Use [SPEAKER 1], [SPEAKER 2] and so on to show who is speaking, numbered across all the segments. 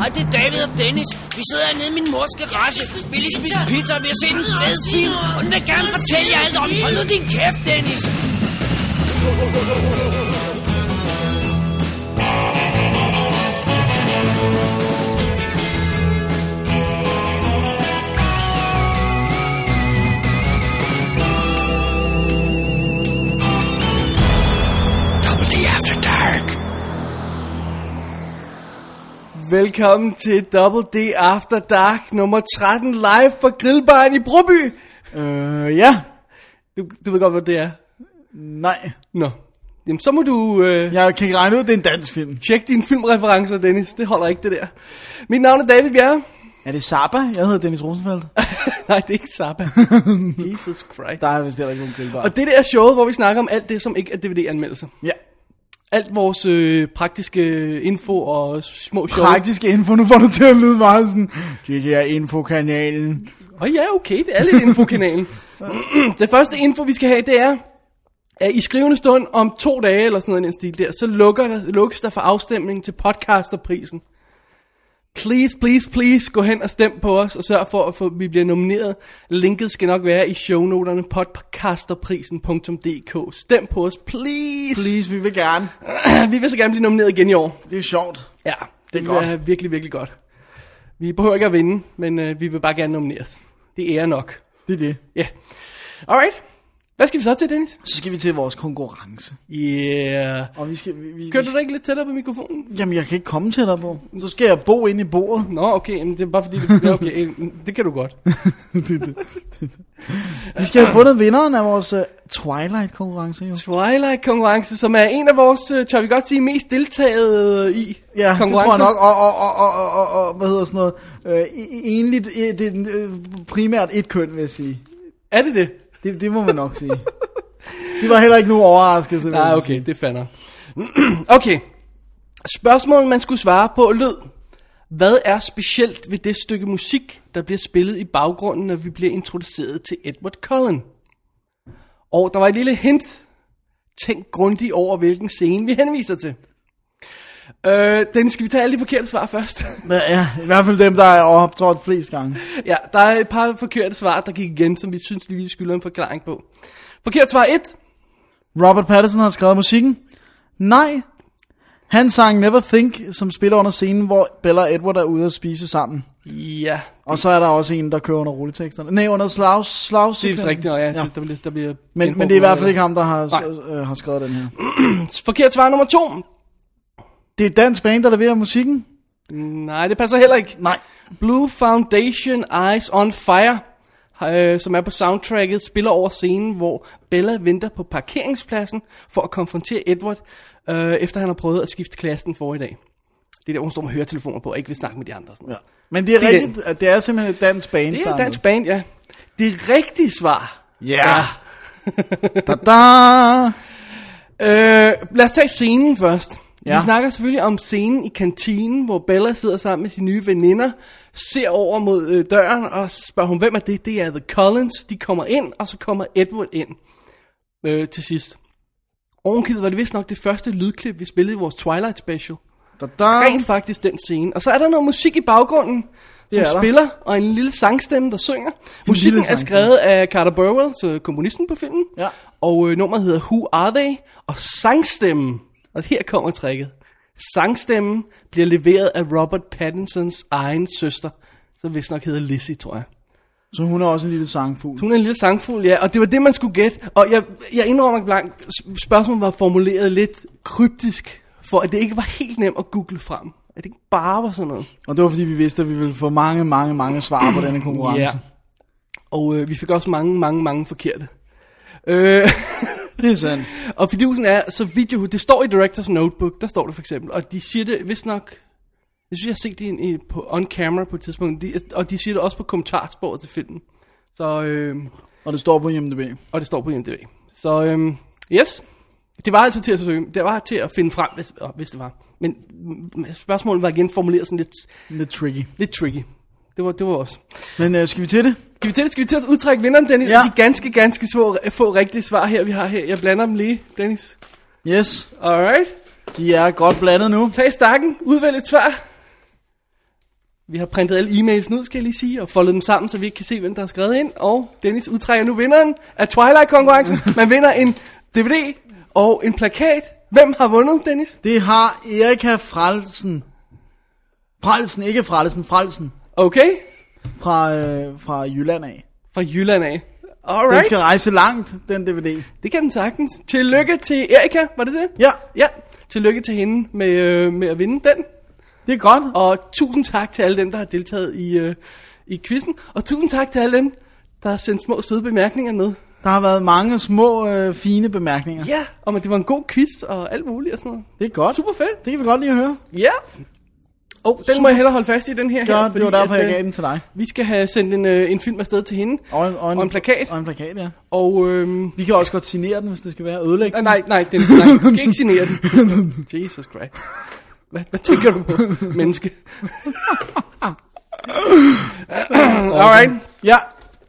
[SPEAKER 1] hedder Dennis. Vi sidder nede i min mors garage. Vi lige spise pizza, og vi har set en fed film. Og den vil gerne fortælle jer alt om. Hold nu din kæft, Dennis.
[SPEAKER 2] Double D After Dark.
[SPEAKER 3] Velkommen til Double D After Dark nummer 13 live fra Grillbaren i Broby.
[SPEAKER 4] Øh, ja.
[SPEAKER 3] Du, du ved godt, hvad det er.
[SPEAKER 4] Nej.
[SPEAKER 3] Nå. Jamen, så må du øh, ja.
[SPEAKER 4] Jeg kan ikke regne ud, det er en dansk film.
[SPEAKER 3] tjekke dine filmreferencer, Dennis. Det holder ikke, det der. Mit navn er David Bjerre.
[SPEAKER 4] Er det Zappa? Jeg hedder Dennis Rosenfeldt.
[SPEAKER 3] Nej, det er ikke Zappa. Jesus Christ.
[SPEAKER 4] Der er vist heller ikke nogen grillbar.
[SPEAKER 3] Og det der er showet, hvor vi snakker om alt det, som ikke er DVD-anmeldelser.
[SPEAKER 4] Ja.
[SPEAKER 3] Alt vores øh, praktiske info og små show.
[SPEAKER 4] Praktiske info, nu får du til at lyde meget sådan, det der infokanalen.
[SPEAKER 3] Og ja, okay, det er lidt infokanalen. det første info, vi skal have, det er, at i skrivende stund om to dage, eller sådan noget i den stil der, så lukker der, lukkes der for afstemning til podcasterprisen. Please, please, please, gå hen og stem på os, og sørg for, at få, vi bliver nomineret. Linket skal nok være i shownoterne podcasterprisen.dk. Stem på os, please.
[SPEAKER 4] Please, vi vil gerne.
[SPEAKER 3] Vi vil så gerne blive nomineret igen i år.
[SPEAKER 4] Det er sjovt.
[SPEAKER 3] Ja, det, det
[SPEAKER 4] godt.
[SPEAKER 3] er virkelig, virkelig godt. Vi behøver ikke at vinde, men øh, vi vil bare gerne nomineres. Det er nok.
[SPEAKER 4] Det er det.
[SPEAKER 3] Ja. Yeah. Alright. Hvad skal vi så til, Dennis?
[SPEAKER 4] Så skal vi til vores konkurrence.
[SPEAKER 3] Yeah.
[SPEAKER 4] Og vi skal... Vi, vi,
[SPEAKER 3] Kører du da ikke lidt tættere på mikrofonen?
[SPEAKER 4] Jamen, jeg kan ikke komme til dig på. Så skal jeg bo inde i bordet.
[SPEAKER 3] Nå, okay, men det er bare fordi, det, ja, okay, øh, det kan du godt.
[SPEAKER 4] det, er det, vi skal have fundet vinderen af vores uh, Twilight-konkurrence, jo.
[SPEAKER 3] Twilight-konkurrence, som er en af vores, øh, tør vi godt sige, mest deltagede i
[SPEAKER 4] Ja, det
[SPEAKER 3] konkurrencer.
[SPEAKER 4] tror jeg nok. Og, og, og, og, og, og, og hvad hedder sådan noget? Øh, enligt, øh, det er den, øh, primært et køn, vil jeg sige.
[SPEAKER 3] Er det det?
[SPEAKER 4] Det, det må man nok sige. Det var heller ikke nogen overraskelse. vil
[SPEAKER 3] Nej,
[SPEAKER 4] jeg
[SPEAKER 3] Ah, okay,
[SPEAKER 4] sige.
[SPEAKER 3] det fander. okay. Spørgsmålet, man skulle svare på, lød. Hvad er specielt ved det stykke musik, der bliver spillet i baggrunden, når vi bliver introduceret til Edward Cullen? Og der var et lille hint. Tænk grundigt over, hvilken scene vi henviser til. Øh, den skal vi tage alle de forkerte svar først.
[SPEAKER 4] Men, ja, i hvert fald dem, der er optrådt flest gange.
[SPEAKER 3] ja, der er et par forkerte svar, der gik igen, som vi synes lige, vi skylder en forklaring på. Forkert svar 1.
[SPEAKER 4] Robert Pattinson har skrevet musikken. Nej, han sang Never Think, som spiller under scenen, hvor Bella og Edward er ude at spise sammen.
[SPEAKER 3] Ja,
[SPEAKER 4] Og så er der også en, der kører under rulleteksterne. Nej, under slags, slags
[SPEAKER 3] det er vist rigtigt, og ja, ja. Der, bliver, der bliver
[SPEAKER 4] Men, men det er i hvert fald ikke ham, der har, øh, har skrevet den her.
[SPEAKER 3] Forkert svar nummer to.
[SPEAKER 4] Det er et dansk band, der leverer musikken.
[SPEAKER 3] Nej, det passer heller ikke.
[SPEAKER 4] Nej.
[SPEAKER 3] Blue Foundation Eyes on Fire, øh, som er på soundtracket, spiller over scenen, hvor Bella venter på parkeringspladsen for at konfrontere Edward, øh, efter han har prøvet at skifte klassen for i dag. Det er der, hvor hun står med høretelefoner på og ikke vil snakke med de andre. og Sådan. noget.
[SPEAKER 4] Ja. Men det er
[SPEAKER 3] Det er
[SPEAKER 4] rigtigt, at det er simpelthen et dansk band,
[SPEAKER 3] Det
[SPEAKER 4] der
[SPEAKER 3] er et dansk band, ja. Det rigtige svar.
[SPEAKER 4] Ja. Da, da.
[SPEAKER 3] Øh, lad os tage scenen først. Ja.
[SPEAKER 4] Ja.
[SPEAKER 3] Vi snakker selvfølgelig om scenen i kantinen, hvor Bella sidder sammen med sine nye veninder, ser over mod øh, døren og spørger hun, hvem er det? Det er The Collins. De kommer ind, og så kommer Edward ind øh, til sidst. Ovenkøbet var det vist nok det første lydklip, vi spillede i vores Twilight Special.
[SPEAKER 4] Da, da.
[SPEAKER 3] Rent faktisk den scene. Og så er der noget musik i baggrunden, som
[SPEAKER 4] Det er der.
[SPEAKER 3] spiller, og en lille sangstemme, der synger. Musikken er
[SPEAKER 4] sangstemme.
[SPEAKER 3] skrevet af Carter Burwell, så komponisten på filmen.
[SPEAKER 4] Ja.
[SPEAKER 3] Og øh, nummeret hedder Who Are They? Og sangstemmen, og her kommer tricket. Sangstemmen bliver leveret af Robert Pattinsons egen søster, som vist nok hedder Lizzie, tror jeg.
[SPEAKER 4] Så hun er også en lille sangfugl.
[SPEAKER 3] Hun er en lille sangfugl, ja, og det var det, man skulle gætte. Og jeg, jeg indrømmer blank, spørgsmålet var formuleret lidt kryptisk, for at det ikke var helt nemt at google frem. At det ikke bare var sådan noget.
[SPEAKER 4] Og det var fordi, vi vidste, at vi ville få mange, mange, mange svar på denne konkurrence.
[SPEAKER 3] Ja. Og øh, vi fik også mange, mange, mange forkerte. Øh,
[SPEAKER 4] Det er sandt.
[SPEAKER 3] og fidusen er, så video, det står i Directors Notebook, der står det for eksempel, og de siger det vist nok, jeg synes, jeg har set det i- i, på on camera på et tidspunkt, de, og de siger det også på kommentarsporet til filmen. Så, øh,
[SPEAKER 4] Og det står på IMDb.
[SPEAKER 3] og det står på IMDb. Så, øh, yes, det var altså til at søge, det var til at finde frem, hvis, åh, hvis det var. Men mm, spørgsmålet var igen formuleret sådan lidt,
[SPEAKER 4] Lidt tricky.
[SPEAKER 3] lidt tricky. Det var, det var også.
[SPEAKER 4] Men øh, skal vi til det?
[SPEAKER 3] Skal vi til, skal vi til at udtrække vinderen, Dennis? Ja.
[SPEAKER 4] Ja.
[SPEAKER 3] De ganske, ganske små, få rigtige svar her, vi har her. Jeg blander dem lige, Dennis.
[SPEAKER 4] Yes.
[SPEAKER 3] Alright.
[SPEAKER 4] De er godt blandet nu.
[SPEAKER 3] Tag stakken, udvælg et svar. Vi har printet alle e-mails ud, skal jeg lige sige, og foldet dem sammen, så vi ikke kan se, hvem der har skrevet ind. Og Dennis udtrækker nu vinderen af Twilight-konkurrencen. Man vinder en DVD og en plakat. Hvem har vundet, Dennis?
[SPEAKER 4] Det har Erika Frelsen. Frelsen, ikke Frelsen, Frelsen.
[SPEAKER 3] Okay.
[SPEAKER 4] Fra, øh, fra Jylland af.
[SPEAKER 3] Fra Jylland af.
[SPEAKER 4] Den
[SPEAKER 3] Alright.
[SPEAKER 4] skal rejse langt, den DVD.
[SPEAKER 3] Det kan den sagtens. Tillykke til Erika, var det det?
[SPEAKER 4] Ja,
[SPEAKER 3] Ja, tillykke til hende med, øh, med at vinde den.
[SPEAKER 4] det er godt.
[SPEAKER 3] Og tusind tak til alle dem, der har deltaget i, øh, i quizzen. Og tusind tak til alle dem, der har sendt små søde bemærkninger med.
[SPEAKER 4] Der har været mange små, øh, fine bemærkninger.
[SPEAKER 3] Ja, om at det var en god quiz og alt muligt og sådan noget.
[SPEAKER 4] Det er godt.
[SPEAKER 3] Super fedt.
[SPEAKER 4] Det kan vi godt lige høre.
[SPEAKER 3] Ja. Oh, den Super. må jeg hellere holde fast i, den her. her
[SPEAKER 4] Ja, det var derfor,
[SPEAKER 3] at,
[SPEAKER 4] jeg
[SPEAKER 3] øh,
[SPEAKER 4] gav den til dig.
[SPEAKER 3] Vi skal have sendt en, øh, en film afsted til hende.
[SPEAKER 4] Og en, og,
[SPEAKER 3] Og en plakat.
[SPEAKER 4] Og en plakat, ja.
[SPEAKER 3] Og øhm,
[SPEAKER 4] Vi kan også godt signere den, hvis det skal være ødelægge.
[SPEAKER 3] Ah,
[SPEAKER 4] den.
[SPEAKER 3] Nej, nej, den, nej, du skal ikke signere den. Jesus Christ. Hvad, hvad tænker du på, menneske? Alright.
[SPEAKER 4] Ja,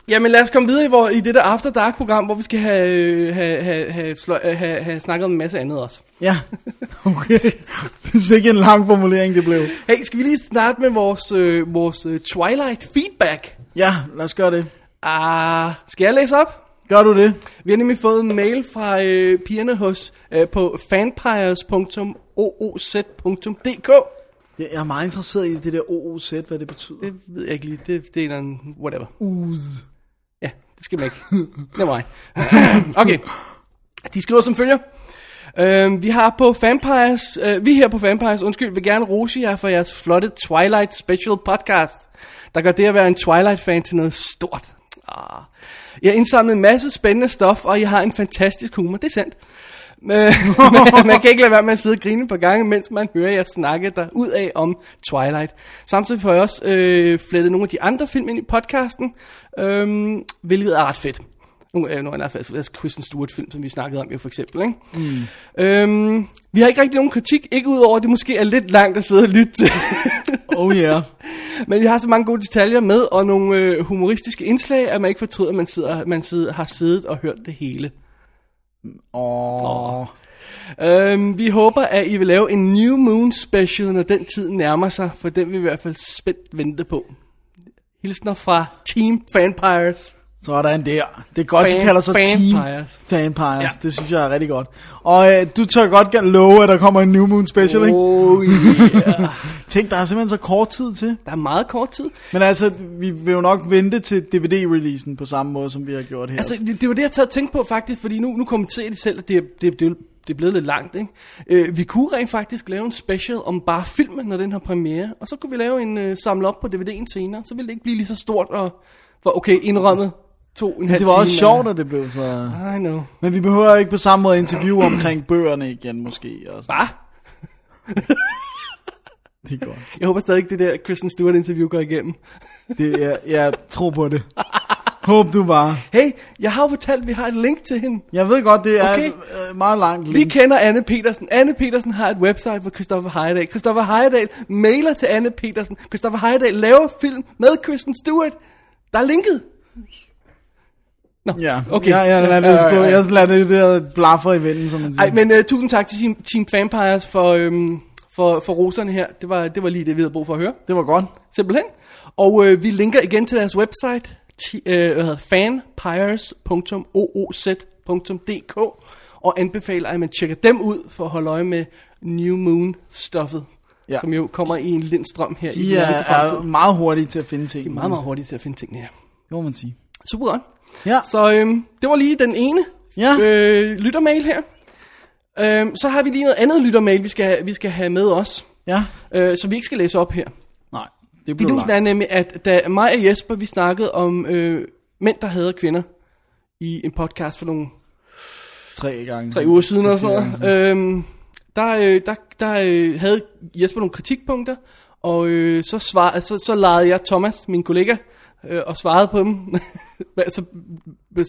[SPEAKER 3] Jamen lad os komme videre i, vor, i det der After Dark program, hvor vi skal have, øh, have, have, have, slø- øh, have, have snakket om en masse andet også.
[SPEAKER 4] ja. Okay. Det er sikkert en lang formulering, det blev.
[SPEAKER 3] Hey, skal vi lige starte med vores, øh, vores øh, Twilight feedback?
[SPEAKER 4] Ja, lad os gøre det.
[SPEAKER 3] Ah, skal jeg læse op?
[SPEAKER 4] Gør du det?
[SPEAKER 3] Vi har nemlig fået en mail fra øh, pigerne hos, øh, på fanpires.ooz.dk.
[SPEAKER 4] Jeg jeg er meget interesseret i det der OOZ, hvad det betyder.
[SPEAKER 3] Det ved jeg ikke lige. Det, det er en eller anden whatever.
[SPEAKER 4] Uz.
[SPEAKER 3] Ja, det skal man ikke. Det var mig. Okay. De skriver som følger. Øhm, vi har på Vampires, øh, vi her på Vampires, undskyld, vil gerne rose jer for jeres flotte Twilight Special podcast, der gør det at være en Twilight-fan til noget stort. Ah. Jeg har indsamlet en masse spændende stof, og I har en fantastisk humor, det er sandt. Øh, man, man kan ikke lade være med at sidde og grine på gange, mens man hører jer snakke der ud af om Twilight. Samtidig får jeg også øh, flettet nogle af de andre film ind i podcasten, øh, hvilket er ret fedt. Nu øh, nu er der faktisk Kristen Stewart film, som vi snakkede om jo for eksempel. Ikke? Mm. Øhm, vi har ikke rigtig nogen kritik, ikke udover at det måske er lidt langt at sidde og lytte til.
[SPEAKER 4] Oh yeah.
[SPEAKER 3] Men vi har så mange gode detaljer med, og nogle øh, humoristiske indslag, at man ikke fortryder, at man, sidder, man sidder, har siddet og hørt det hele.
[SPEAKER 4] Åh. Oh.
[SPEAKER 3] Øhm, vi håber, at I vil lave en New Moon special, når den tid nærmer sig, for den vil vi i hvert fald spændt vente på. Hilsner fra Team Fanpires.
[SPEAKER 4] Sådan der. Det er godt,
[SPEAKER 3] Fan-
[SPEAKER 4] de kalder sig Team
[SPEAKER 3] Fanpires.
[SPEAKER 4] Fanpires. Ja. Det synes jeg er rigtig godt. Og øh, du tør godt gerne love, at der kommer en New Moon Special, ikke?
[SPEAKER 3] Oh yeah.
[SPEAKER 4] Tænk, der er simpelthen så kort tid til.
[SPEAKER 3] Der er meget kort tid.
[SPEAKER 4] Men altså, vi vil jo nok vente til DVD-releasen på samme måde, som vi har gjort her.
[SPEAKER 3] Altså, det, det var det, jeg tager at tænke på faktisk, fordi nu, nu kommenterer de selv, at det, er- det, det, det er blevet lidt langt, ikke? Øh, vi kunne rent faktisk lave en special om bare filmen, når den har premiere, og så kunne vi lave en øh, samle op på DVD'en senere, så ville det ikke blive lige så stort og, og okay, indrømmet to en halv
[SPEAKER 4] det var også
[SPEAKER 3] time, øh,
[SPEAKER 4] sjovt, at det blev så...
[SPEAKER 3] I know.
[SPEAKER 4] Men vi behøver ikke på samme måde interview omkring bøgerne igen, måske. Og sådan.
[SPEAKER 3] Bare.
[SPEAKER 4] Det er godt.
[SPEAKER 3] Jeg håber stadig ikke, det der Kristen Stewart interview går igennem.
[SPEAKER 4] Det er, jeg tror på det. Håb du bare.
[SPEAKER 3] Hey, jeg har jo fortalt, at vi har et link til hende.
[SPEAKER 4] Jeg ved godt, det er
[SPEAKER 3] Okay.
[SPEAKER 4] okay. et øh, meget langt
[SPEAKER 3] Vi
[SPEAKER 4] link.
[SPEAKER 3] kender Anne Petersen. Anne Petersen har et website for Christoffer Heyerdahl. Christoffer Heyerdahl mailer til Anne Petersen. Christoffer Heyerdahl laver film med Kristen Stewart. Der er linket. Nå,
[SPEAKER 4] Ja,
[SPEAKER 3] okay.
[SPEAKER 4] Ja, ja, lad
[SPEAKER 3] Ja,
[SPEAKER 4] det stå.
[SPEAKER 3] ja, ja.
[SPEAKER 4] Jeg lader det der blaffer i vinden, som man siger.
[SPEAKER 3] Ej, men uh, tusind tak til Team, team Vampires for, øhm, for, for roserne her. Det var, det var lige det, vi havde brug for at høre.
[SPEAKER 4] Det var godt.
[SPEAKER 3] Simpelthen. Og øh, vi linker igen til deres website, ti, øh, hvad hedder, fanpires.ooz.dk, og anbefaler, at man tjekker dem ud for at holde øje med New Moon-stoffet, ja.
[SPEAKER 4] Ja.
[SPEAKER 3] som jo kommer i en lindstrøm her i
[SPEAKER 4] De
[SPEAKER 3] den
[SPEAKER 4] er,
[SPEAKER 3] nærmeste fremtid.
[SPEAKER 4] er meget hurtige til at finde ting.
[SPEAKER 3] De er meget, meget hurtige til at finde tingene her.
[SPEAKER 4] Det må man sige.
[SPEAKER 3] Super godt.
[SPEAKER 4] Ja,
[SPEAKER 3] Så øhm, det var lige den ene
[SPEAKER 4] Ja.
[SPEAKER 3] øh, lyttermail her. Øhm, så har vi lige noget andet lyttermail, vi skal, vi skal have med os,
[SPEAKER 4] ja.
[SPEAKER 3] øh, som vi ikke skal læse op her.
[SPEAKER 4] Nej, det blev
[SPEAKER 3] Fidusen er
[SPEAKER 4] langt.
[SPEAKER 3] nemlig, at da mig og Jesper, vi snakkede om øh, mænd, der hader kvinder i en podcast for nogle
[SPEAKER 4] Tre gange.
[SPEAKER 3] tre uger siden og sådan noget, øhm, der, øh, der, der øh, havde Jesper nogle kritikpunkter, og øh, så, svar, så, så lejede jeg Thomas, min kollega, øh, og svarede på dem hvad- så,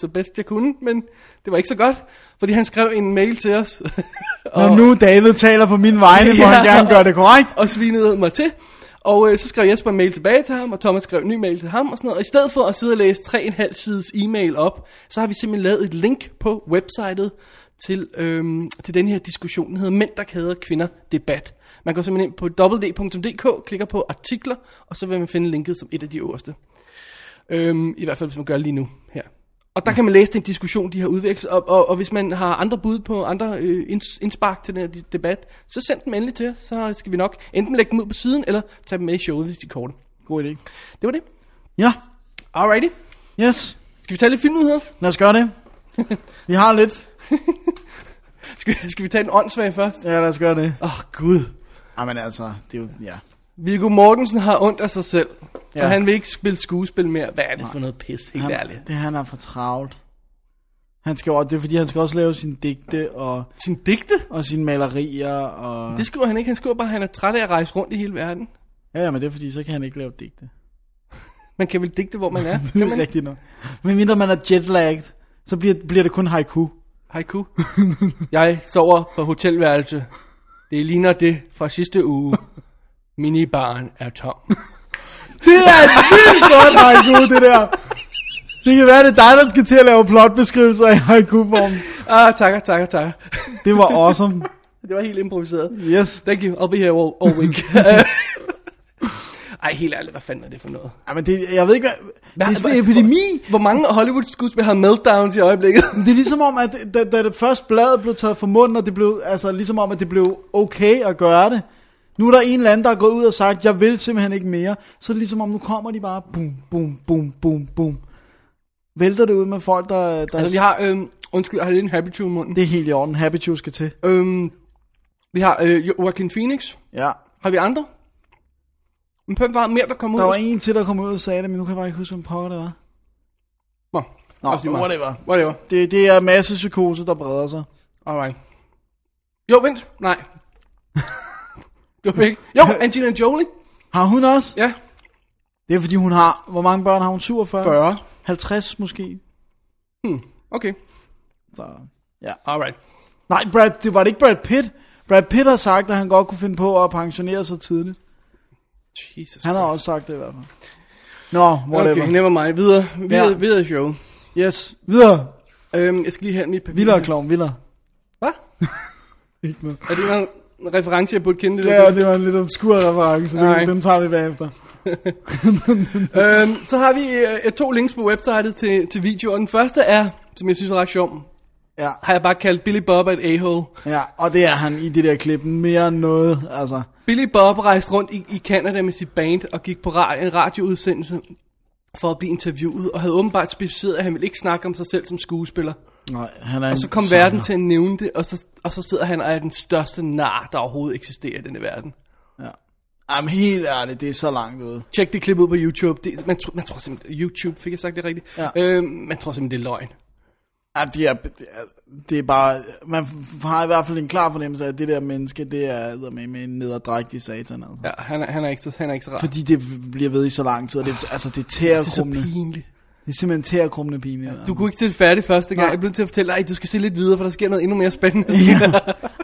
[SPEAKER 3] så bedst jeg kunne, men det var ikke så godt, fordi han skrev en mail til os
[SPEAKER 4] Når nu David taler på min vegne, må han
[SPEAKER 3] Ja.
[SPEAKER 4] gerne gøre det korrekt.
[SPEAKER 3] og svinede mig til. Og øh, så skrev Jesper en mail tilbage til ham, og Thomas skrev en ny mail til ham og sådan noget. Og i stedet for at sidde og læse 3,5 sides e-mail op, så har vi simpelthen lavet et link på websitet til, øhm, til den her diskussion, der hedder Mænd, der kæder kvinder debat. Man går simpelthen ind på www.dk, klikker på artikler, og så vil man finde linket som et af de øverste. Øhm, I hvert fald, hvis man gør lige nu her. Og der kan man læse den diskussion, de har udvekslet, og, og, og hvis man har andre bud på andre øh, inds- indspark til den her di- debat, så send dem endelig til os, så skal vi nok enten lægge dem ud på siden, eller tage dem med i showet, hvis de er korte.
[SPEAKER 4] God idé.
[SPEAKER 3] Det var det.
[SPEAKER 4] Ja,
[SPEAKER 3] Alrighty.
[SPEAKER 4] yes.
[SPEAKER 3] Skal vi tage lidt filmnyheder?
[SPEAKER 4] Lad os gøre det. Vi har lidt.
[SPEAKER 3] Skal, skal vi tage en åndssvag først?
[SPEAKER 4] Ja, lad os gøre det.
[SPEAKER 3] Åh, oh, Gud.
[SPEAKER 4] Jamen altså, det er jo, ja.
[SPEAKER 3] Viggo Mortensen har ondt af sig selv, ja. så
[SPEAKER 4] Ja.
[SPEAKER 3] han vil ikke spille skuespil mere. Hvad er det for noget pis, helt
[SPEAKER 4] Han,
[SPEAKER 3] ærligt?
[SPEAKER 4] det han er for travlt. Han skal, jo- det er fordi, han skal også lave sine digte og,
[SPEAKER 3] Sin digte?
[SPEAKER 4] og sine malerier. Og,
[SPEAKER 3] Det skriver han ikke. Han skriver bare, at han er træt af at rejse rundt i hele verden.
[SPEAKER 4] ja, ja, men det er fordi, så kan han ikke lave digte.
[SPEAKER 3] Man kan vel digte, hvor man er.
[SPEAKER 4] Det
[SPEAKER 3] Kan
[SPEAKER 4] er
[SPEAKER 3] man?
[SPEAKER 4] rigtigt nok. Men mindre man er jetlagged, så bliver, bliver det kun haiku.
[SPEAKER 3] Haiku. Jeg sover på hotelværelse. Det ligner det fra sidste uge. Minibaren er tom.
[SPEAKER 4] Det er et vildt godt haiku, det der. Det kan være, det er dig, der skal til at lave plotbeskrivelser i haiku-form.
[SPEAKER 3] Ah, takker, takker, takker.
[SPEAKER 4] Det var awesome.
[SPEAKER 3] Det var helt improviseret.
[SPEAKER 4] Yes.
[SPEAKER 3] Thank you. I'll be here all, all week. Ej, helt ærligt, hvad fanden er det for noget?
[SPEAKER 4] Ej, men det, jeg ved ikke, hvad,
[SPEAKER 3] Hva-
[SPEAKER 4] det er sådan en
[SPEAKER 3] hva-
[SPEAKER 4] epidemi.
[SPEAKER 3] Hvor mange Hollywood-skuespillere har meltdowns i øjeblikket?
[SPEAKER 4] Men Det er ligesom om, at da, da det første blad blev taget fra munden, og det blev, altså ligesom om, at det blev okay at gøre det. Nu er der en eller anden, der er gået ud og sagt, jeg vil simpelthen ikke mere. Så er det ligesom om, nu kommer de bare, boom, boom, boom, boom, boom. Vælter det ud med folk, der... der
[SPEAKER 3] Altså, vi har, øhm, undskyld, jeg har lidt en happy tune i munden.
[SPEAKER 4] Det er helt i orden, Happy Two skal til.
[SPEAKER 3] Øhm, vi har øh, Joaquin Phoenix.
[SPEAKER 4] Ja.
[SPEAKER 3] Har vi andre? Men hvem var mere, der kom ud?
[SPEAKER 4] Der var
[SPEAKER 3] og-
[SPEAKER 4] en til, der kom ud og sagde det, men nu kan jeg bare ikke huske, hvem pokker det var.
[SPEAKER 3] Nå,
[SPEAKER 4] Nå,
[SPEAKER 3] også lige meget.
[SPEAKER 4] whatever.
[SPEAKER 3] Whatever.
[SPEAKER 4] Det, det er masse psykose, der breder sig.
[SPEAKER 3] Alright. Jo, vent. Nej. jo, ikke. Jo, Angelina Jolie.
[SPEAKER 4] Har hun også?
[SPEAKER 3] Ja.
[SPEAKER 4] Det er fordi hun har, hvor mange børn har hun? 47?
[SPEAKER 3] 40.
[SPEAKER 4] 50 måske?
[SPEAKER 3] Okay.
[SPEAKER 4] Så.
[SPEAKER 3] Alright.
[SPEAKER 4] Nej, Brad, det var det ikke Brad Pitt. Brad Pitt har sagt, at han godt kunne finde på at pensionere sig tidligt.
[SPEAKER 3] Jesus.
[SPEAKER 4] Han har også sagt det i hvert fald. Nå, whatever.
[SPEAKER 3] Okay,
[SPEAKER 4] Okay.
[SPEAKER 3] never mind. Videre. Videre,
[SPEAKER 4] Ja.
[SPEAKER 3] videre i showet.
[SPEAKER 4] Yes, videre.
[SPEAKER 3] Øhm, jeg skal lige have mit papir.
[SPEAKER 4] Vildere klovn, vildere.
[SPEAKER 3] Hvad?
[SPEAKER 4] Ikke med.
[SPEAKER 3] Er det en- en reference, jeg burde kende det?
[SPEAKER 4] Ja, det var en lidt obskur reference.
[SPEAKER 3] Nej.
[SPEAKER 4] Den, den tager vi bagefter.
[SPEAKER 3] øhm, så har vi øh, to links på websitet til, til videoer. Den første er, som jeg synes er ret sjov,
[SPEAKER 4] Ja.
[SPEAKER 3] har jeg bare kaldt Billy Bob et a-hole.
[SPEAKER 4] Ja, og det er han i det der klip mere end noget, altså.
[SPEAKER 3] Billy Bob rejste rundt i, i Canada med sit band og gik på ra- en radioudsendelse for at blive interviewet, og havde åbenbart specificeret, at han ville ikke snakke om sig selv som skuespiller.
[SPEAKER 4] Nej, han er
[SPEAKER 3] Og så kom verden til at nævne det, og så, og så sidder han og er den største nar, der overhovedet eksisterer i denne verden.
[SPEAKER 4] Jamen helt ærligt, det er så langt ude.
[SPEAKER 3] Tjek det klip ud på YouTube. Det, man, tro, man tror simpelthen, YouTube, fik jeg sagt det rigtigt?
[SPEAKER 4] Ja.
[SPEAKER 3] Øhm, man tror simpelthen, det er løgn.
[SPEAKER 4] Ja, det er, det er, det er bare, man f- har i hvert fald en klar fornemmelse af, at det der menneske, det er med, med en nederdrægtig satan, altså. Ja.
[SPEAKER 3] Ja, han, er, han, er ikke, så- han er ikke så rar.
[SPEAKER 4] Fordi det bliver ved i så lang tid, og det, altså det er
[SPEAKER 3] det er så
[SPEAKER 4] tærekrummende. Det
[SPEAKER 3] pinligt.
[SPEAKER 4] er simpelthen tærekrummende pinligt. Ja,
[SPEAKER 3] Du kunne ikke se det færdigt første gang.
[SPEAKER 4] Nej.
[SPEAKER 3] Jeg blev til at fortælle dig, "Ej, du skal se lidt videre, for der sker noget endnu mere spændende.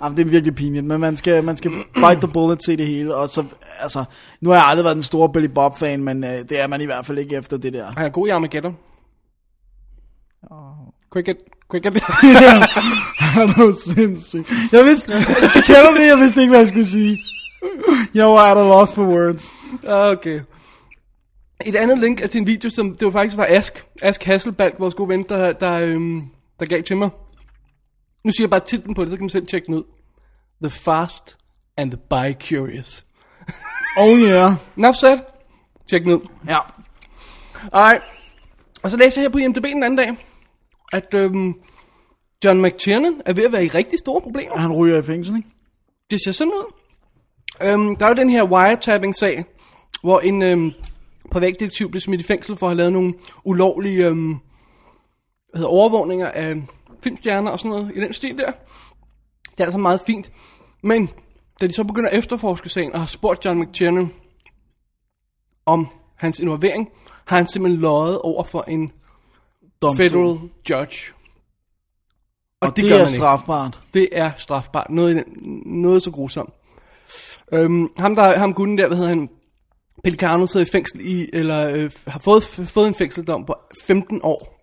[SPEAKER 4] Jamen, det er virkelig pinligt, Ah, men man skal, man skal bite the bullet se det hele, og så, altså, nu har jeg aldrig været den store Billy Bob-fan, men øh, det er man i hvert fald ikke efter det der.
[SPEAKER 3] Han er god i Armageddon. Cricket, cricket.
[SPEAKER 4] Han er jo sindssyg. Jeg vidste, du kender det, jeg vidste ikke, hvad jeg skulle sige. Jeg var at a loss for words.
[SPEAKER 3] Ah, okay. Et andet link er til en video, som det var faktisk fra Ask. Ask Hasselbalg, vores gode ven, der, der, øhm, der gav til mig. Nu siger jeg bare titlen på det, så kan man selv tjekke den ud. The Fast and the Bi-Curious.
[SPEAKER 4] Oh yeah.
[SPEAKER 3] Enough said. Tjek den ud.
[SPEAKER 4] Ja.
[SPEAKER 3] Alright. Og så læser jeg her på IMDb den anden dag, at øhm, John McTiernan er ved at være i rigtig store problemer.
[SPEAKER 4] Han ryger i fængsel, ikke?
[SPEAKER 3] Det ser sådan ud. Øhm, der er jo den her wiretapping-sag, hvor en øhm, privatdetektiv blev smidt i fængsel for at have lavet nogle ulovlige øhm, hvad hedder, overvågninger af filmstjerner og sådan noget i den stil der. Det er altså meget fint. Men da de så begynder at efterforske sagen og har spurgt John McTiernan om hans involvering, har han simpelthen løjet over for en
[SPEAKER 4] Domstol.
[SPEAKER 3] federal judge.
[SPEAKER 4] Og,
[SPEAKER 3] Og
[SPEAKER 4] det,
[SPEAKER 3] det
[SPEAKER 4] det
[SPEAKER 3] gør
[SPEAKER 4] er
[SPEAKER 3] man ikke.
[SPEAKER 4] strafbart.
[SPEAKER 3] Det er strafbart. Noget, i den- noget så grusomt. Øhm, ham, der, ham gutten der, hvad hedder han? Pelicano sidder i fængsel i, eller øh, har fået, fået en fængseldom på 15 år.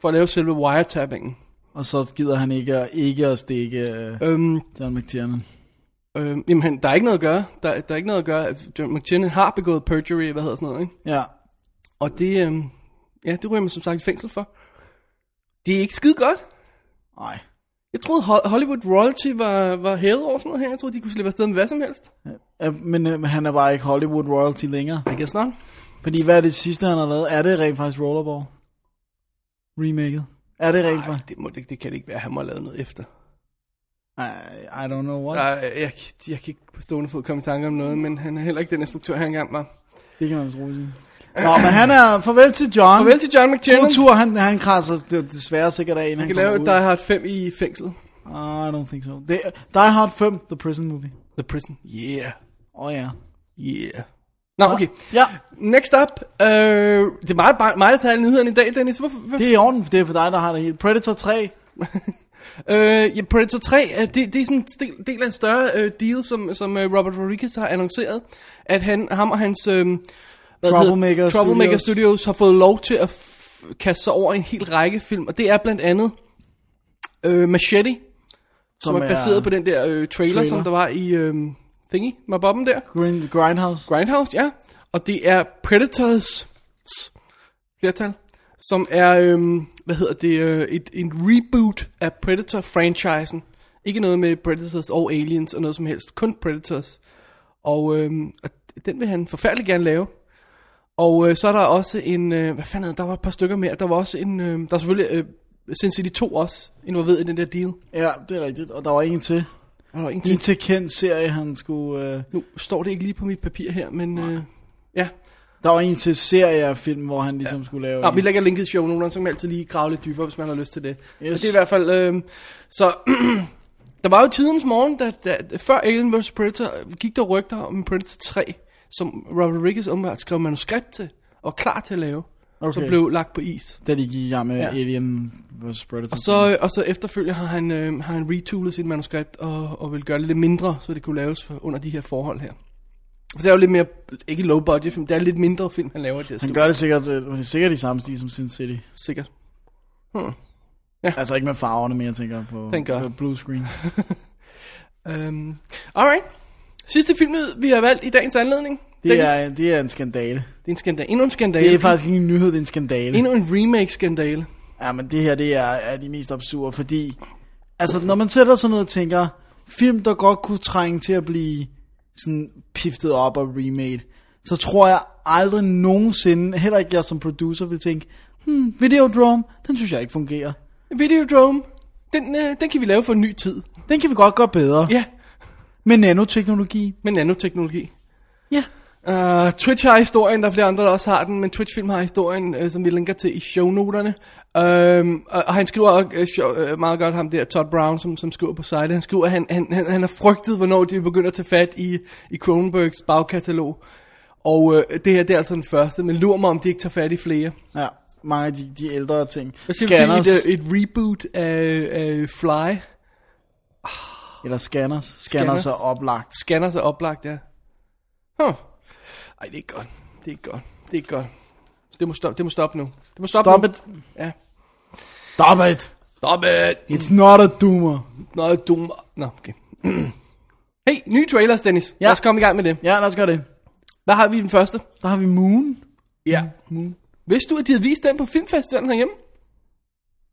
[SPEAKER 3] For at lave selve wiretappingen.
[SPEAKER 4] Og så gider han ikke, at- ikke at stikke øh,
[SPEAKER 3] Øhm,
[SPEAKER 4] John McTiernan.
[SPEAKER 3] Øh, jamen, han- der er ikke noget at gøre. Der, der er ikke noget at gøre. John McTiernan har begået perjury, hvad hedder sådan noget, ikke?
[SPEAKER 4] Ja.
[SPEAKER 3] Og det, øh, ja, det ryger man som sagt i fængsel for. Det er ikke skide godt.
[SPEAKER 4] Nej.
[SPEAKER 3] Jeg troede, Ho- Hollywood Royalty var, var hævet over sådan noget her. Jeg troede, de kunne slippe afsted med hvad som helst.
[SPEAKER 4] Ja, Men øh, han er bare ikke Hollywood royalty længere.
[SPEAKER 3] I guess not.
[SPEAKER 4] Fordi hvad er det sidste, han har lavet? Er det rent faktisk Rollerball? Remaket? Er det rent
[SPEAKER 3] Ej,
[SPEAKER 4] faktisk?
[SPEAKER 3] det, må, det, det kan det ikke være. Han må have lavet noget efter.
[SPEAKER 4] I, I don't know what.
[SPEAKER 3] Der, er- jeg, jeg kan ikke på stående fod komme i tanke om noget, men han er heller ikke den instruktør, han engang var.
[SPEAKER 4] Det kan man vist roligt sige. Nå, men han er... Farvel til John.
[SPEAKER 3] Farvel til John McTiernan.
[SPEAKER 4] Nu tur, han, han krasser det- desværre sikkert af, inden
[SPEAKER 3] Han
[SPEAKER 4] han
[SPEAKER 3] kan
[SPEAKER 4] kommer
[SPEAKER 3] lave
[SPEAKER 4] ud.
[SPEAKER 3] Die Hard 5 i fængsel.
[SPEAKER 4] Ah, I don't think so. Det, Die Hard 5, The Prison Movie.
[SPEAKER 3] The Prison. Yeah.
[SPEAKER 4] Åh oh, ja.
[SPEAKER 3] Yeah. Nå, okay.
[SPEAKER 4] Ja,
[SPEAKER 3] Next up. Øh, det er meget, meget, meget detaljer nyhederne i dag, Dennis. Hvorfor? Hvor,
[SPEAKER 4] det er i orden, for det er for dig, der har det hele. Predator 3.
[SPEAKER 3] Øh, ja, Predator 3, øh, det, det er sådan en del, del af en større øh, deal, som, som øh, Robert Rodriguez har annonceret, at han, ham og hans øh, hvad
[SPEAKER 4] Troublemaker
[SPEAKER 3] hedder, Troublemaker
[SPEAKER 4] Studios.
[SPEAKER 3] Studios. har fået lov til at f- kaste sig over en hel række film, og det er blandt andet øh, Machete, som, som er baseret på den der øh, trailer,
[SPEAKER 4] trailer.
[SPEAKER 3] trailer, som der var i øh, Thingy, med Bobben der.
[SPEAKER 4] Grind, Grindhouse.
[SPEAKER 3] Grindhouse, ja. Og det er Predators s- flertal, som er, øhm, hvad hedder det, øh, et, en reboot af Predator-franchisen. Ikke noget med Predators og Aliens og noget som helst, kun Predators. Og, øhm, og den vil han forfærdelig gerne lave. Og øh, så er der også en, øh, hvad fanden er det, der var et par stykker mere, der var også en, øh, der er selvfølgelig øh, Sin City 2 også involveret i den der deal.
[SPEAKER 4] Ja, det er rigtigt. Og der var en til.
[SPEAKER 3] Og der er en
[SPEAKER 4] En
[SPEAKER 3] ting,
[SPEAKER 4] til kendt serie, han skulle... Øh,
[SPEAKER 3] nu står det ikke lige på mit papir her, men øh, ja.
[SPEAKER 4] der var en til serie af film, hvor han ligesom ja. skulle lave...
[SPEAKER 3] Nå,
[SPEAKER 4] en.
[SPEAKER 3] vi lægger linket i shownoterne, så kan man altid lige grave lidt dybere, hvis man har lyst til det. Yes. Og
[SPEAKER 4] Yes.
[SPEAKER 3] det er i hvert fald... Øh, så der var jo tidens morgen, da, da, da, før Alien vs. Predator, øh, gik der rygter om en Predator 3, som Robert Rodriguez åbenbart skrev manuskript til, og var klar til at lave, okay. som
[SPEAKER 4] Okay.
[SPEAKER 3] blev lagt på is.
[SPEAKER 4] Da de gik i gang med ja.
[SPEAKER 3] Ja.
[SPEAKER 4] Alien vs. Predator.
[SPEAKER 3] Og så, øh, og så efterfølgende har han, øh, har han retoolet sit manuskript, og, og vil gøre det lidt mindre, så det kunne laves for, under de her forhold her. For det er jo lidt mere, ikke low budget film, det er lidt mindre film, han laver i det. her
[SPEAKER 4] Han
[SPEAKER 3] studie,
[SPEAKER 4] gør det sikkert, øh, det er sikkert i samme stil som Sin City.
[SPEAKER 3] Sikkert. Hmm.
[SPEAKER 4] Altså ikke med farverne, men jeg tænker på,
[SPEAKER 3] Den gør.
[SPEAKER 4] på blue screen.
[SPEAKER 3] Um, alright. Sidste film, vi har valgt i dagens anledning.
[SPEAKER 4] Det
[SPEAKER 3] Dennis.
[SPEAKER 4] er, det er en skandale.
[SPEAKER 3] det er en skandale. Endnu en skandale.
[SPEAKER 4] Det er faktisk ikke en nyhed, det er en skandale.
[SPEAKER 3] Endnu en remake-skandale.
[SPEAKER 4] Ja, men det her, det er, er de mest absurde, fordi... Altså, når man sætter sig ned og tænker, film, der godt kunne trænge til at blive sådan piftet op og remade, så tror jeg aldrig nogensinde, heller ikke jeg som producer, vil tænke, hmm, Videodrome, den synes jeg ikke fungerer.
[SPEAKER 3] Videodrome. Den, øh, den kan vi lave for en ny tid.
[SPEAKER 4] Den kan vi godt gøre bedre.
[SPEAKER 3] Ja,
[SPEAKER 4] Med nanoteknologi.
[SPEAKER 3] med nanoteknologi.
[SPEAKER 4] Ja.
[SPEAKER 3] Uh, Twitch har historien, der er flere andre, der også har den, men Twitch Film har historien, uh, som vi linker til i shownoterne. Uh, og, og han skriver også øh, sjov- øh, meget godt ham der, Todd Brown, som, som skriver på site. Han skriver, at han, han, han, han har frygtet, hvornår de begynder at tage fat i, i Cronenbergs bagkatalog. Og øh, det her, det er altså den første, men lur mig, om de ikke tager fat i flere.
[SPEAKER 4] Ja, mange af de, de ældre ting.
[SPEAKER 3] Jeg skal
[SPEAKER 4] Scanners,
[SPEAKER 3] sige, et, et reboot af, af Fly.
[SPEAKER 4] eller scanners. Scanners er
[SPEAKER 3] Scanners.
[SPEAKER 4] oplagt.
[SPEAKER 3] Scanners er oplagt, ja. Huh. Ej, det er ikke godt. Det er ikke godt. Det er ikke godt. Det må stoppe, det må stoppe nu. Det må stoppe
[SPEAKER 4] Stop
[SPEAKER 3] nu.
[SPEAKER 4] it.
[SPEAKER 3] Ja.
[SPEAKER 4] Stop it.
[SPEAKER 3] Stop it.
[SPEAKER 4] It's not a doomer.
[SPEAKER 3] Nå, øh, dum. Nå, okay. hey, nye trailers, Dennis. Ja. Lad os komme i gang med det.
[SPEAKER 4] Ja, lad os gøre det.
[SPEAKER 3] Hvad har vi i den første?
[SPEAKER 4] Der har vi Moon.
[SPEAKER 3] Ja. Vidste du, at de havde vist den på filmfestivalen herhjemme?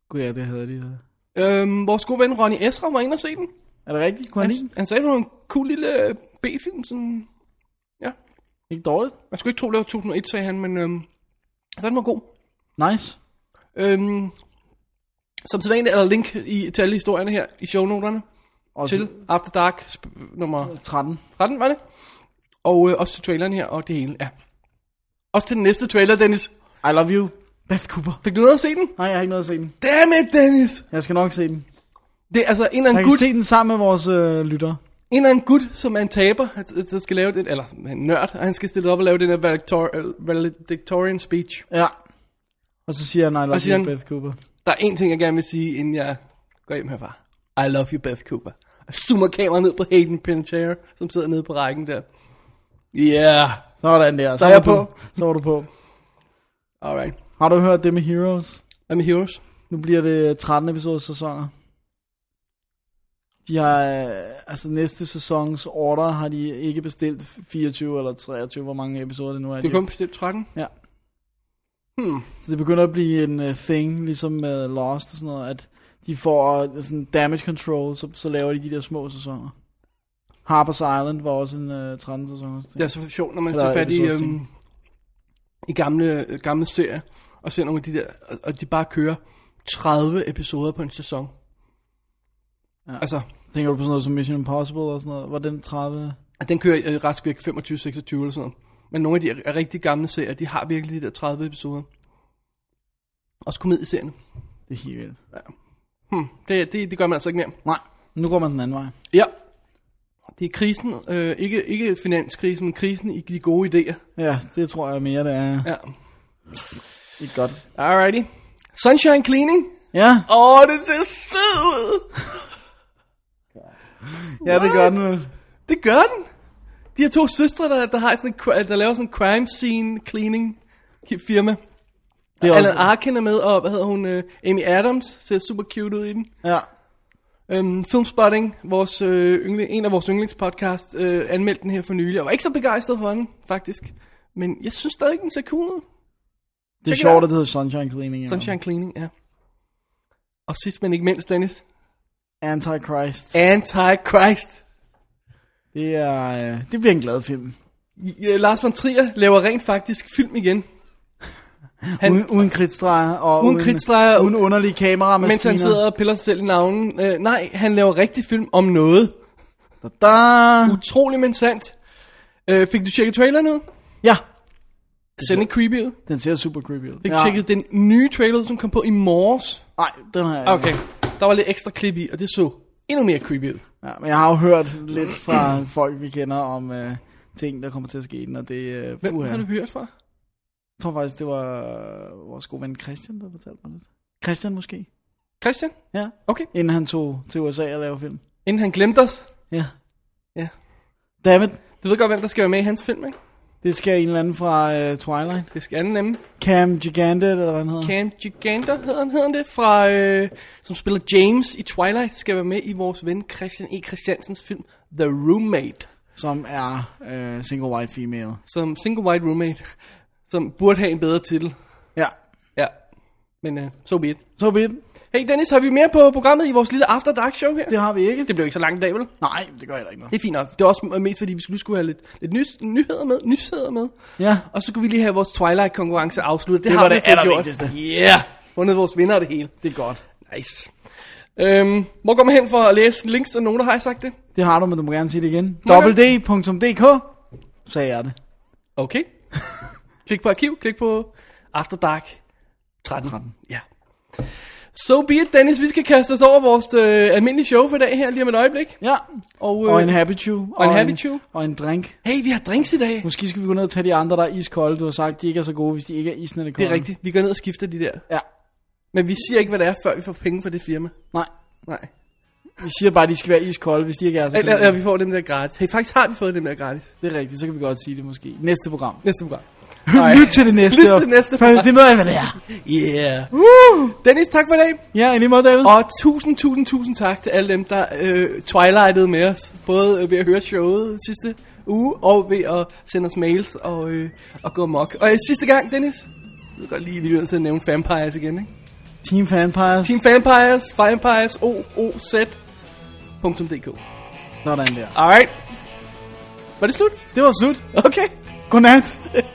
[SPEAKER 4] Gud ja, det havde de. ja.
[SPEAKER 3] Øhm, vores gode ven Ronny Esra var inde og se den.
[SPEAKER 4] Er det rigtigt? Kunne han
[SPEAKER 3] Han,
[SPEAKER 4] lide den?
[SPEAKER 3] han sagde, det var en cool lille øh, B-film. Sådan... Ja.
[SPEAKER 4] Ikke dårligt.
[SPEAKER 3] Man skulle ikke tro, det var 2001, sagde han, men øhm, den var god.
[SPEAKER 4] Nice.
[SPEAKER 3] Øhm, som sædvanligt er der link i, til alle historierne her i shownoterne.
[SPEAKER 4] Og
[SPEAKER 3] Til After Dark sp- nummer
[SPEAKER 4] 13.
[SPEAKER 3] 13, var det? Og øh, også til traileren her og det hele, ja. Også til den næste trailer, Dennis.
[SPEAKER 4] I love you, Beth Cooper.
[SPEAKER 3] Fik du noget at se den?
[SPEAKER 4] Nej, jeg har ikke noget at se den.
[SPEAKER 3] Damn it, Dennis!
[SPEAKER 4] Jeg skal nok se den.
[SPEAKER 3] Det er altså en eller
[SPEAKER 4] Jeg
[SPEAKER 3] anden
[SPEAKER 4] kan
[SPEAKER 3] gut,
[SPEAKER 4] se den sammen med vores øh, lyttere.
[SPEAKER 3] en eller anden gut, som er en taber, at- at- som skal lave det, eller han er en nørd, og han skal stille op og lave den her valedictor- valedictorian speech.
[SPEAKER 4] Ja. Og så siger han, I love
[SPEAKER 3] Og siger
[SPEAKER 4] you,
[SPEAKER 3] han-
[SPEAKER 4] Beth Cooper.
[SPEAKER 3] Der er en ting, jeg gerne vil sige, inden jeg går hjem herfra. I love you, Beth Cooper. Jeg zoomer kameraet ned på Hayden Panettiere, som sidder nede på rækken der. Yeah.
[SPEAKER 4] Sådan der. Så,
[SPEAKER 3] er jeg
[SPEAKER 4] var
[SPEAKER 3] på.
[SPEAKER 4] Du, så var du på.
[SPEAKER 3] Alright.
[SPEAKER 4] Har du hørt det med Heroes? øh,
[SPEAKER 3] Hvad med Heroes?
[SPEAKER 4] Nu bliver det 13 episodes sæsoner. De har, øh, altså næste sæsons order har de ikke bestilt 24 eller 23, hvor mange episoder det nu er.
[SPEAKER 3] Du
[SPEAKER 4] de-
[SPEAKER 3] kun bestilt 13?
[SPEAKER 4] Ja.
[SPEAKER 3] Hmm.
[SPEAKER 4] Så det begynder at blive en uh, thing, ligesom med Lost og sådan noget, at de får øh, sådan damage control, så, så laver de de der små sæsoner. Harper's Island var også en uh, 13 sæsoner.
[SPEAKER 3] Det er så sjovt, når man
[SPEAKER 4] Eller
[SPEAKER 3] tager fat i,
[SPEAKER 4] episodesting.
[SPEAKER 3] øhm, i gamle, øh, gamle serier, og ser nogle af de der, og- og de bare kører 30 episoder på en sæson. Ja. Altså,
[SPEAKER 4] Tænker du på sådan noget som Mission Impossible og sådan noget? Var den 30?
[SPEAKER 3] at den kører øh, rask væk 25-26 eller sådan noget. Men nogle af de er rigtig gamle serier, de har virkelig de der 30 episoder. Også komedieserierne.
[SPEAKER 4] Det er helt vildt.
[SPEAKER 3] Hmm, det, det, det gør man altså ikke mere.
[SPEAKER 4] Nej, nu går man den anden vej.
[SPEAKER 3] Ja. Det er krisen, øh, ikke, ikke finanskrisen, men krisen i de gode idéer.
[SPEAKER 4] Ja, det tror jeg mere, det er
[SPEAKER 3] Ja.
[SPEAKER 4] ikke godt.
[SPEAKER 3] Alrighty. Sunshine Cleaning.
[SPEAKER 4] Ja,
[SPEAKER 3] Åh, oh, det ser sød ud.
[SPEAKER 4] ja det gør den vel.
[SPEAKER 3] Det gør den. De her to søstre, der, der, har sådan en, cri- der laver sådan en crime scene cleaning firma.
[SPEAKER 4] Det er
[SPEAKER 3] Alan
[SPEAKER 4] også,
[SPEAKER 3] Arkin er med, og hvad hedder hun? øh, Amy Adams ser super cute ud i den.
[SPEAKER 4] ja,
[SPEAKER 3] Øhm, Filmspotting, vores, øh, yngle, en af vores yndlingspodcast, øh, anmeldte den her for nylig. Jeg var ikke så begejstret for den, faktisk. Men jeg synes stadig, den ser cool ud.
[SPEAKER 4] det er
[SPEAKER 3] Check it out.
[SPEAKER 4] sjovt, at det hedder Sunshine Cleaning. ja.
[SPEAKER 3] Sunshine Cleaning, ja. Og sidst men ikke mindst, Dennis.
[SPEAKER 4] Antichrist.
[SPEAKER 3] Antichrist.
[SPEAKER 4] Det, er, øh, det bliver en glad film.
[SPEAKER 3] Ja, Lars von Trier laver rent faktisk film igen. Han-
[SPEAKER 4] Han, uden, uden kridtstreger og
[SPEAKER 3] Uden kridtstreger,
[SPEAKER 4] uden underlige kameramaskiner.
[SPEAKER 3] Mens han sidder og piller sig selv i navnen. Øh, nej, han laver rigtig film om noget.
[SPEAKER 4] Da, da.
[SPEAKER 3] Utrolig, men sandt. Øh, fik du tjekket traileren ud?
[SPEAKER 4] Ja,
[SPEAKER 3] Det ser ikke creepy ud.
[SPEAKER 4] den ser super creepy ud.
[SPEAKER 3] Fik du tjekket den nye trailer ud, som kom på i morges?
[SPEAKER 4] Nej, den har jeg ikke.
[SPEAKER 3] Okay, der var lidt ekstra klip i, og det så endnu mere creepy ud.
[SPEAKER 4] Ja, men jeg har jo hørt lidt fra folk, vi kender, om øh, ting, der kommer til at ske i den, og det... Øh,
[SPEAKER 3] Hvem
[SPEAKER 4] puha.
[SPEAKER 3] har du hørt fra?
[SPEAKER 4] Jeg tror faktisk, det var øh, vores gode ven Christian, der fortalte mig det. Christian måske?
[SPEAKER 3] Christian?
[SPEAKER 4] Ja.
[SPEAKER 3] Okay.
[SPEAKER 4] Inden han tog til USA og lavede film.
[SPEAKER 3] Inden han glemte os.
[SPEAKER 4] Ja.
[SPEAKER 3] Ja.
[SPEAKER 4] Dammit,
[SPEAKER 3] Du ved godt, hvem der skal være med i hans film, ikke?
[SPEAKER 4] det skal en eller anden fra øh, Twilight.
[SPEAKER 3] Det skal anden nemme.
[SPEAKER 4] Cam Gigante, eller hvad han hedder.
[SPEAKER 3] Cam Gigander hedder han, hedder han det, fra, øh, som spiller James i Twilight, skal være med i vores ven Christian E. Christiansens film The Roommate.
[SPEAKER 4] Som er øh, single white female.
[SPEAKER 3] Som single white roommate, som burde have en bedre titel.
[SPEAKER 4] Ja,
[SPEAKER 3] Ja, men øh, so be it.
[SPEAKER 4] så vidt.
[SPEAKER 3] Hey Dennis, har vi mere på programmet i vores lille After Dark show her?
[SPEAKER 4] Det har vi ikke.
[SPEAKER 3] Det blev ikke så lang dag, vel?
[SPEAKER 4] Nej, det gør heller ikke noget.
[SPEAKER 3] Det er fint nok. Det er også mest fordi, vi skulle, skulle have lidt, lidt nys, nyheder med. Nyheder med.
[SPEAKER 4] Ja.
[SPEAKER 3] Og så kunne vi lige have vores Twilight-konkurrence afsluttet. Det,
[SPEAKER 4] Det
[SPEAKER 3] har
[SPEAKER 4] var
[SPEAKER 3] vi
[SPEAKER 4] det
[SPEAKER 3] fået gjort.
[SPEAKER 4] allervigtigste.
[SPEAKER 3] Yeah! Fundet vores vinder og det hele.
[SPEAKER 4] Det er godt.
[SPEAKER 3] Nice. Øhm, hvor går man hen for at læse links og noter? Har jeg sagt det?
[SPEAKER 4] Det har du, men du må gerne sige det igen.
[SPEAKER 3] Må jeg
[SPEAKER 4] www.dk sagde jeg det.
[SPEAKER 3] Okay. klik på arkiv, klik på After Dark 13.
[SPEAKER 4] 13.
[SPEAKER 3] Ja. So be it, Dennis. Vi skal kaste os over vores øh, almindelige show for i dag her lige om et øjeblik.
[SPEAKER 4] Ja.
[SPEAKER 3] Og, øh,
[SPEAKER 4] Og en happy chew. Og,
[SPEAKER 3] happy chew.
[SPEAKER 4] Og en drink.
[SPEAKER 3] hey, vi har drinks i dag.
[SPEAKER 4] Måske skal vi gå ned og tage de andre, der er iskolde. Du har sagt, de ikke er så gode, hvis de ikke er isnende
[SPEAKER 3] Det
[SPEAKER 4] kolde.
[SPEAKER 3] er rigtigt. Vi går ned og skifter de der.
[SPEAKER 4] Ja.
[SPEAKER 3] Men vi siger ikke, hvad det er, før vi får penge for det firma.
[SPEAKER 4] Nej.
[SPEAKER 3] Nej.
[SPEAKER 4] Vi siger bare, at de skal være iskolde, hvis de ikke er så
[SPEAKER 3] Eller,
[SPEAKER 4] kolde.
[SPEAKER 3] eller vi får dem der gratis. Hey, faktisk har vi fået dem der gratis.
[SPEAKER 4] Det er rigtigt, så kan vi godt sige det måske. Næste program.
[SPEAKER 3] Næste program.
[SPEAKER 4] Lyt til det næste.
[SPEAKER 3] Lyt til
[SPEAKER 4] og-
[SPEAKER 3] det næste
[SPEAKER 4] for
[SPEAKER 3] program.
[SPEAKER 4] at finde ud af, hvad det er.
[SPEAKER 3] Yeah. Dennis, tak for i dag.
[SPEAKER 4] Ja, i lige måde, David.
[SPEAKER 3] Og tusind, tusind, tusind tak til alle dem, der øh, twilightede med os. Både øh, ved at høre showet sidste uge, og ved at sende os mails og, øh, og gå amok. Og øh, sidste gang, Dennis, jeg ved godt lige, vi er nødt til at nævne Vampires igen, ikke?
[SPEAKER 4] Team Vampires.
[SPEAKER 3] Team Vampires, Vampires, ooz.dk.
[SPEAKER 4] Sådan der.
[SPEAKER 3] Alright. Var det slut?
[SPEAKER 4] Det var slut.
[SPEAKER 3] Okay.
[SPEAKER 4] Godnat.